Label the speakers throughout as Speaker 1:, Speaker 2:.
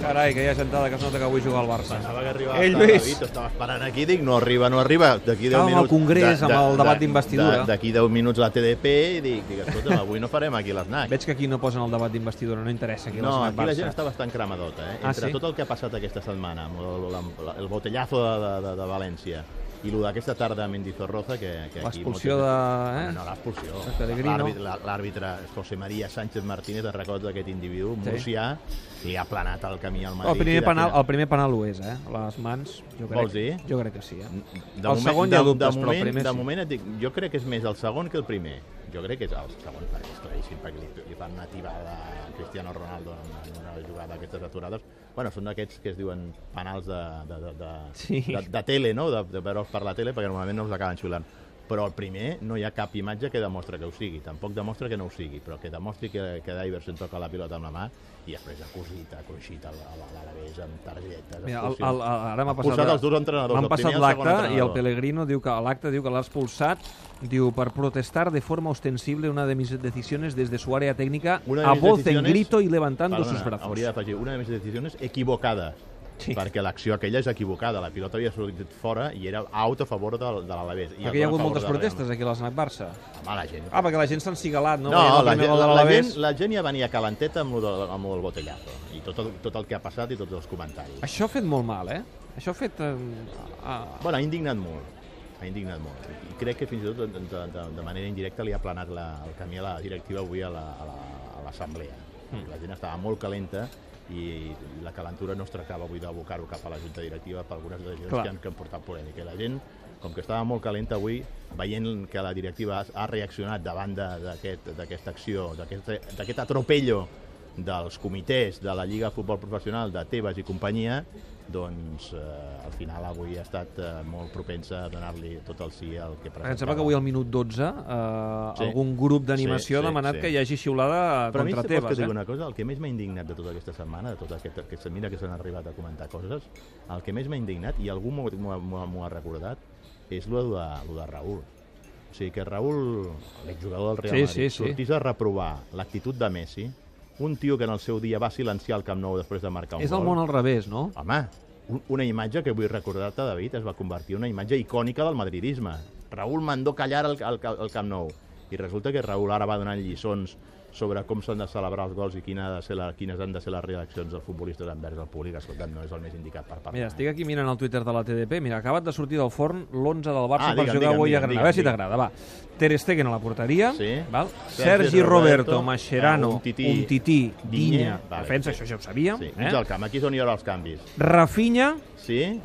Speaker 1: Carai, que ja sentada que es nota que avui juga al Barça.
Speaker 2: Pensava que arribava
Speaker 1: Ei,
Speaker 2: Ei, Lluís.
Speaker 1: Lluís.
Speaker 2: estava esperant aquí, dic, no arriba, no arriba. D'aquí 10
Speaker 1: Estàvem al
Speaker 2: minuts...
Speaker 1: Congrés,
Speaker 2: de-
Speaker 1: amb el
Speaker 2: de-
Speaker 1: debat
Speaker 2: de-
Speaker 1: d'investidura.
Speaker 2: de- D'aquí 10 minuts la TDP i dic, dic escolta'm, avui no farem aquí l'Snac.
Speaker 1: Veig que aquí no posen el debat d'investidura, no interessa aquí
Speaker 2: No,
Speaker 1: l'Snac
Speaker 2: aquí la
Speaker 1: Barça.
Speaker 2: gent està bastant cremadota, eh?
Speaker 1: Ah,
Speaker 2: Entre
Speaker 1: sí?
Speaker 2: tot el que ha passat aquesta setmana, amb el, el, el botellazo de, de, de, de València i el d'aquesta tarda a Mendizorroza, que, que aquí...
Speaker 1: L'expulsió
Speaker 2: molta
Speaker 1: de-
Speaker 2: gent-
Speaker 1: eh?
Speaker 2: No, no l'expulsió.
Speaker 1: De Pellegrino.
Speaker 2: L'àrbit- la- L'àrbitre José María Sánchez Martínez, te'n recordes d'aquest individu,
Speaker 1: Sí.
Speaker 2: murcià, li ha planat el camí al Madrid.
Speaker 1: El
Speaker 2: i
Speaker 1: primer,
Speaker 2: de
Speaker 1: penal,
Speaker 2: final-
Speaker 1: el primer penal ho és, eh? Les mans, jo crec,
Speaker 2: Vols dir?
Speaker 1: jo crec que sí. Eh?
Speaker 2: De
Speaker 1: el
Speaker 2: moment-
Speaker 1: segon
Speaker 2: de,
Speaker 1: hi ha dubtes,
Speaker 2: de
Speaker 1: però
Speaker 2: moment,
Speaker 1: el primer
Speaker 2: de
Speaker 1: sí.
Speaker 2: moment et dic, jo crec que és més el segon que el primer. Jo crec que és el segon, perquè és claríssim, perquè li, li fan una tibada a Cristiano Ronaldo en, en una jugada d'aquestes aturades. Bueno, són d'aquests que es diuen penals de, de, de, de,
Speaker 1: Sí.
Speaker 2: de, de tele, no? De, de veure'ls per la tele, perquè normalment no els acaben xulant. Però el primer no hi ha cap imatge que demostra que ho sigui, tampoc demostra que no ho sigui, però que demostri que, que Diversen toca la pilota amb la mà i després ha cosit, ha cruixit a l'Alavés amb targetes,
Speaker 1: Mira, el, el,
Speaker 2: expulsions.
Speaker 1: el, ara m'ha passat,
Speaker 2: Expulsat els dos entrenadors,
Speaker 1: m'han
Speaker 2: el
Speaker 1: passat
Speaker 2: primer i el segon
Speaker 1: l'acte i el
Speaker 2: entrenador.
Speaker 1: Pellegrino diu que a l'acte diu que l'ha expulsat diu per protestar de forma ostensible una de mis decisiones desde su área técnica
Speaker 2: Una de
Speaker 1: a
Speaker 2: mis
Speaker 1: voz en
Speaker 2: decisiones-
Speaker 1: grito y levantando
Speaker 2: Perdona,
Speaker 1: sus brazos.
Speaker 2: Hauria d'afegir una de les decisions equivocades,
Speaker 1: Sí.
Speaker 2: sí. perquè l'acció aquella és equivocada. La pilota havia sortit fora i era out a favor de, de l'Alavés. I
Speaker 1: Perquè hi
Speaker 2: el
Speaker 1: ha hagut
Speaker 2: dona a favor
Speaker 1: moltes
Speaker 2: de Real
Speaker 1: protestes aquí a l'Snac Barça.
Speaker 2: Madrid. Home, la gent...
Speaker 1: Ah, perquè la gent s'han cigalat, no?
Speaker 2: No,
Speaker 1: Veient el
Speaker 2: la,
Speaker 1: primer
Speaker 2: gent,
Speaker 1: gol de
Speaker 2: la, gent,
Speaker 1: l'Alavés.
Speaker 2: la gent ja venia calenteta amb lo, de, amb lo del botellazo i tot el, tot el que ha passat i tots els comentaris.
Speaker 1: Això ha fet molt mal, eh? Això ha fet... Eh, a...
Speaker 2: Bueno, ha indignat molt, ha indignat molt. I crec que fins i tot de, de, de, de manera indirecta li ha planat la, el camí a la directiva avui a la- a la- a l'assemblea. La, mm. La gent estava molt calenta i la calentura no es tractava avui d'abocar-ho cap a la junta directiva per algunes decisions
Speaker 1: Clar.
Speaker 2: que han, que han portat polèmica. I la gent, com que estava molt calenta avui, veient que la directiva ha, ha reaccionat davant de- d'aquest- d'aquesta acció, d'aquest d'aquest atropello dels comitès de la Lliga de Futbol Professional de Tebas i companyia, doncs eh, al final avui ha estat eh, molt propensa a donar-li tot el sí al que presentava.
Speaker 1: Em sembla que avui al minut 12 eh,
Speaker 2: Sí.
Speaker 1: algun grup
Speaker 2: Sí,
Speaker 1: d'animació
Speaker 2: sí,
Speaker 1: ha demanat
Speaker 2: sí.
Speaker 1: que hi hagi xiulada
Speaker 2: Però a mi
Speaker 1: contra
Speaker 2: si vols
Speaker 1: Tebas,
Speaker 2: que et
Speaker 1: eh?
Speaker 2: digui una cosa, el que més m'ha indignat de tota aquesta setmana, de tot aquest, que se- mira que s'han arribat a comentar coses, el que més m'ha indignat, i algú m'ho- m'ho m'ho- m'ho ha recordat, és lo de, lo de Raül. O sigui, que Raül, l'exjugador del Real
Speaker 1: Sí, sí,
Speaker 2: Madrid,
Speaker 1: sí.
Speaker 2: sortís a reprovar l'actitud de Messi, un tio que en el seu dia va silenciar el Camp Nou després de marcar un
Speaker 1: És
Speaker 2: gol.
Speaker 1: el món al revés, no?
Speaker 2: Home, un- una imatge que vull recordar-te, David, es va convertir en una imatge icònica del madridisme. Raül mandó callar el, el, el Camp Nou. I resulta que Raül ara va donant lliçons sobre com s'han de celebrar els gols i quina ha de ser la, quines han de ser les reaccions dels futbolistes envers el públic. Escolta'm, no és el més indicat per parlar.
Speaker 1: Mira, estic aquí mirant el Twitter de la TDP. Mira, acabat de sortir del forn l'11 del Barça
Speaker 2: Ah,
Speaker 1: per
Speaker 2: digue'm,
Speaker 1: jugar
Speaker 2: digue'm,
Speaker 1: avui a
Speaker 2: digue'm,
Speaker 1: Granada. A veure si
Speaker 2: digue'm.
Speaker 1: t'agrada, va. Ter Stegen a la porteria,
Speaker 2: Sí.
Speaker 1: val?
Speaker 2: Sergi
Speaker 1: Sergi, Roberto,
Speaker 2: Roberto,
Speaker 1: Mascherano,
Speaker 2: eh,
Speaker 1: un tití, un
Speaker 2: Digne,
Speaker 1: Dinya,
Speaker 2: vale,
Speaker 1: defensa,
Speaker 2: sí.
Speaker 1: això ja ho sabíam.
Speaker 2: Sí, mig
Speaker 1: eh?
Speaker 2: al camp. Aquí és on hi haurà els canvis.
Speaker 1: Rafinha,
Speaker 2: Sí?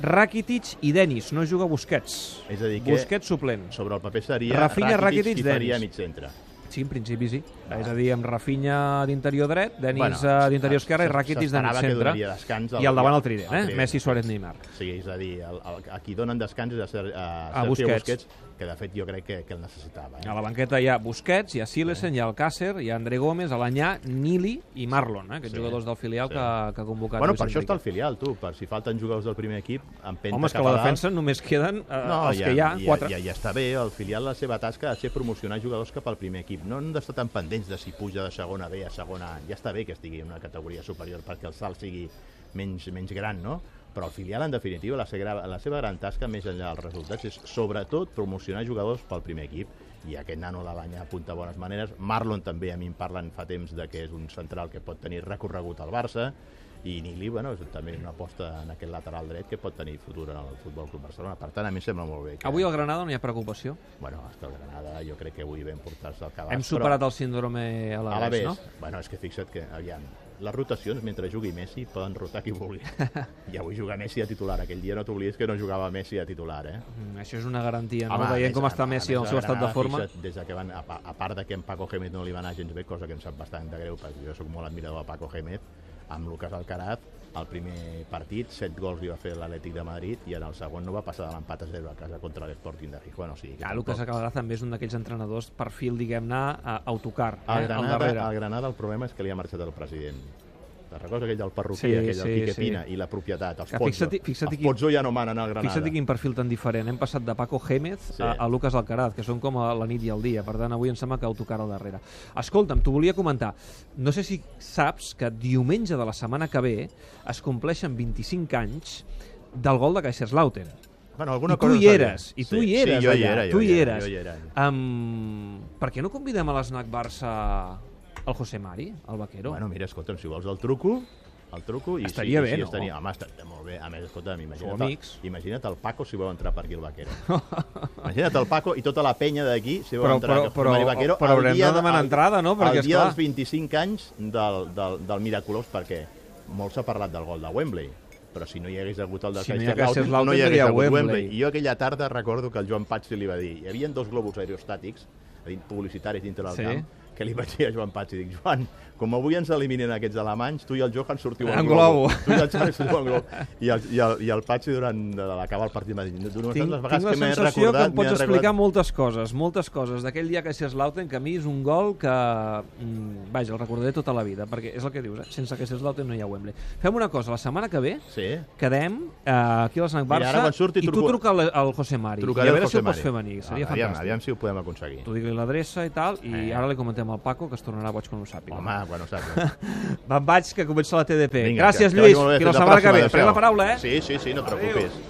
Speaker 1: Rakitic i Denis. No juga Busquets.
Speaker 2: És a dir que-
Speaker 1: Busquets suplent.
Speaker 2: Sobre el paper seria
Speaker 1: Rafinha, Rakitic,
Speaker 2: qui faria
Speaker 1: Denis.
Speaker 2: mig centre.
Speaker 1: Sí, en principi sí. És a dir, amb Rafinha d'interior dret, Denis
Speaker 2: Bueno,
Speaker 1: eh, d'interior esquerra i
Speaker 2: se-
Speaker 1: Rakitic de mig
Speaker 2: s'esperava que
Speaker 1: centre.
Speaker 2: donaria descans al-
Speaker 1: I al davant el trident,
Speaker 2: al
Speaker 1: eh?
Speaker 2: trident.
Speaker 1: Messi, Suárez, Neymar.
Speaker 2: O sigui, és a dir, el, el, a qui donen descans és a, Ser, a,
Speaker 1: A
Speaker 2: Sergio
Speaker 1: Busquets.
Speaker 2: Busquets. que de fet jo crec que, que el necessitava.
Speaker 1: A
Speaker 2: Eh?
Speaker 1: la banqueta hi ha Busquets, hi ha Silesen, hi ha Alcácer, hi ha André Gómez, Alanyà, Nili i Marlon, eh, aquests
Speaker 2: Sí,
Speaker 1: jugadors del filial
Speaker 2: sí.
Speaker 1: que, que ha convocat.
Speaker 2: Bueno,
Speaker 1: Luis
Speaker 2: per això està el
Speaker 1: Enrique.
Speaker 2: filial, tu, per si falten jugadors del primer equip, empenta
Speaker 1: Home, és que
Speaker 2: cap
Speaker 1: a la
Speaker 2: a dalt.
Speaker 1: defensa només queden eh,
Speaker 2: No,
Speaker 1: els que hi ha,
Speaker 2: ja,
Speaker 1: quatre.
Speaker 2: Ja, ja està bé, al filial la seva tasca ha de ser promocionar jugadors cap al primer equip. No han d'estar tan pendents de si puja de segona B a segona A. Ja està bé que estigui en una categoria superior perquè el salt sigui menys, menys gran, no? Però el filial, en definitiva, la seva, la seva gran tasca, més enllà dels resultats, és sobretot promocionar jugadors pel primer equip. I aquest nano de l'any apunta bones maneres. Marlon també, a mi em parlen fa temps de que és un central que pot tenir recorregut al Barça i Nili, bueno, és també una aposta en aquest lateral dret que pot tenir futur en el Futbol Club Barcelona. Per tant, a mi em sembla molt bé. Que,
Speaker 1: Avui al Granada no hi ha preocupació.
Speaker 2: Bueno, hasta el Granada jo crec que avui vam portar-se al cabàs.
Speaker 1: Hem superat el síndrome a
Speaker 2: però,
Speaker 1: la,
Speaker 2: a la vez,
Speaker 1: no?
Speaker 2: Bueno, és que fixa't que, aviam, les rotacions, mentre jugui Messi, poden rotar qui vulgui. I avui jugar Messi a titular. Aquell dia no t'oblidis que no jugava Messi a titular, eh?
Speaker 1: Mm, això és una garantia, no?
Speaker 2: Home, a
Speaker 1: Veient
Speaker 2: més-
Speaker 1: com
Speaker 2: a-
Speaker 1: està
Speaker 2: a
Speaker 1: Messi
Speaker 2: més
Speaker 1: en el seu
Speaker 2: Granada,
Speaker 1: estat de forma.
Speaker 2: Fixa't, des de que van, a, pa- a part de que en Paco Gémez no li va anar gens bé, cosa que em sap bastant de greu, perquè jo sóc molt admirador de Paco Gémez, amb Lucas Alcaraz, el primer partit, set gols li va fer l'Atlètic de Madrid i en el segon no va passar de l'empat a 0 a casa contra l'Sporting de Gijón. O sigui, que
Speaker 1: Ja, Ah, Lucas
Speaker 2: tampoc-
Speaker 1: Alcalarà també és un d'aquells entrenadors perfil, diguem-ne, a- autocar, eh,
Speaker 2: Al
Speaker 1: al
Speaker 2: Granada,
Speaker 1: darrere.
Speaker 2: al Granada el problema és que li ha marxat el president. la cosa aquell del
Speaker 1: Sí,
Speaker 2: perruquer, sí, aquell del
Speaker 1: sí,
Speaker 2: sí, Piquepina,
Speaker 1: sí.
Speaker 2: sí. i la propietat, els
Speaker 1: Que
Speaker 2: Pozzo.
Speaker 1: fixa't- fixa't
Speaker 2: els
Speaker 1: quin-
Speaker 2: Pozzo ja no manen al Granada.
Speaker 1: Fixa't quin perfil tan diferent. Hem passat de Paco Gémez
Speaker 2: Sí.
Speaker 1: a, a Lucas Alcaraz, que són com a la nit i el dia. Per tant, avui em sembla que ho tocarà al darrere. Escolta'm, t'ho volia comentar. No sé si saps que diumenge de la setmana que ve es compleixen 25 anys del gol de Kaiserslautern.
Speaker 2: Bueno,
Speaker 1: I
Speaker 2: alguna
Speaker 1: tu
Speaker 2: cosa
Speaker 1: hi eres,
Speaker 2: sabia.
Speaker 1: i tu hi eres
Speaker 2: sí, jo hi
Speaker 1: allà,
Speaker 2: era, jo
Speaker 1: tu hi
Speaker 2: era,
Speaker 1: eres.
Speaker 2: Jo hi era.
Speaker 1: Um, per què no convidem a l'esnac Barça el José Mari, el vaquero?
Speaker 2: Bueno, mira, escolta'm, si vols el truco, el truco i
Speaker 1: Estaria
Speaker 2: sí,
Speaker 1: bé,
Speaker 2: sí,
Speaker 1: no?
Speaker 2: estaria, home, estaria molt bé. A més, escolta'm,
Speaker 1: Sou
Speaker 2: imagina't,
Speaker 1: amics.
Speaker 2: el, imagina't el Paco si vol entrar per aquí el Vaquero. imagina't el Paco i tota la penya d'aquí si vol
Speaker 1: Però-
Speaker 2: entrar
Speaker 1: però-
Speaker 2: per aquí
Speaker 1: però-
Speaker 2: el Vaquero.
Speaker 1: però
Speaker 2: el
Speaker 1: haurem
Speaker 2: dia
Speaker 1: de demanar
Speaker 2: el-
Speaker 1: entrada, no? Perquè,
Speaker 2: el dia
Speaker 1: esclar.
Speaker 2: dels 25 anys del, del, del Miraculós, perquè molt s'ha parlat del gol de Wembley però si no hi hagués hagut el de
Speaker 1: Si no hi hagués
Speaker 2: Kaiserslautern, no
Speaker 1: Kaiserslautern,
Speaker 2: hi
Speaker 1: hi
Speaker 2: hagués
Speaker 1: ha
Speaker 2: hagut
Speaker 1: Wembley.
Speaker 2: Wembley. I jo aquella tarda recordo que el Joan Patxi li va dir hi havia dos globus aerostàtics a dir, publicitaris dintre del
Speaker 1: Sí.
Speaker 2: sí. camp que li vaig dir a Joan Patxi, dic, Joan, com avui ens eliminen aquests alemanys, tu i el Johan sortiu
Speaker 1: En
Speaker 2: en
Speaker 1: globo.
Speaker 2: globo. Tu i el Johan sortiu en globo. I el, i el, i el Patxi durant de l'acabar el partit m'ha dit, tu no saps
Speaker 1: Tinc,
Speaker 2: les
Speaker 1: tinc
Speaker 2: vegades
Speaker 1: la
Speaker 2: que m'he
Speaker 1: sensació que
Speaker 2: recordat...
Speaker 1: em pots
Speaker 2: m'he
Speaker 1: explicar
Speaker 2: recordat...
Speaker 1: moltes coses, moltes coses. D'aquell dia que Kaiserslautern, que a mi és un gol que... mm, Vaja, el recordaré tota la vida, perquè és el que dius, eh? sense Kaiserslautern no hi ha Wembley. Fem una cosa, la setmana que ve
Speaker 2: Sí,
Speaker 1: quedem eh, aquí a l'Snac
Speaker 2: Mira,
Speaker 1: Barça
Speaker 2: ara quan surti
Speaker 1: i tu
Speaker 2: truco-
Speaker 1: truca al, al José Mari.
Speaker 2: trucaré
Speaker 1: I a
Speaker 2: al
Speaker 1: veure si
Speaker 2: José
Speaker 1: el pots
Speaker 2: Mari.
Speaker 1: fer venir, seria
Speaker 2: Ah, aviam,
Speaker 1: fantàstic.
Speaker 2: aviam si ho podem aconseguir.
Speaker 1: Tu digue-li l'adreça i tal, i
Speaker 2: Eh.
Speaker 1: ara li comentem al Paco, que es tornarà boig quan ho sàpiga.
Speaker 2: Home, bueno, saps.
Speaker 1: Me'n vaig, que comença la TDP.
Speaker 2: Vinga,
Speaker 1: Gràcies,
Speaker 2: que- que
Speaker 1: Lluís.
Speaker 2: vagi molt bé.
Speaker 1: Fins la
Speaker 2: Fins
Speaker 1: setmana que ve.
Speaker 2: pròxima.
Speaker 1: Prenc la paraula, eh?
Speaker 2: Sí, sí, sí, no et preocupis.